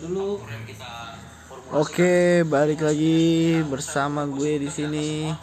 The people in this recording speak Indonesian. dulu. Oke, balik lagi bersama gue di sini.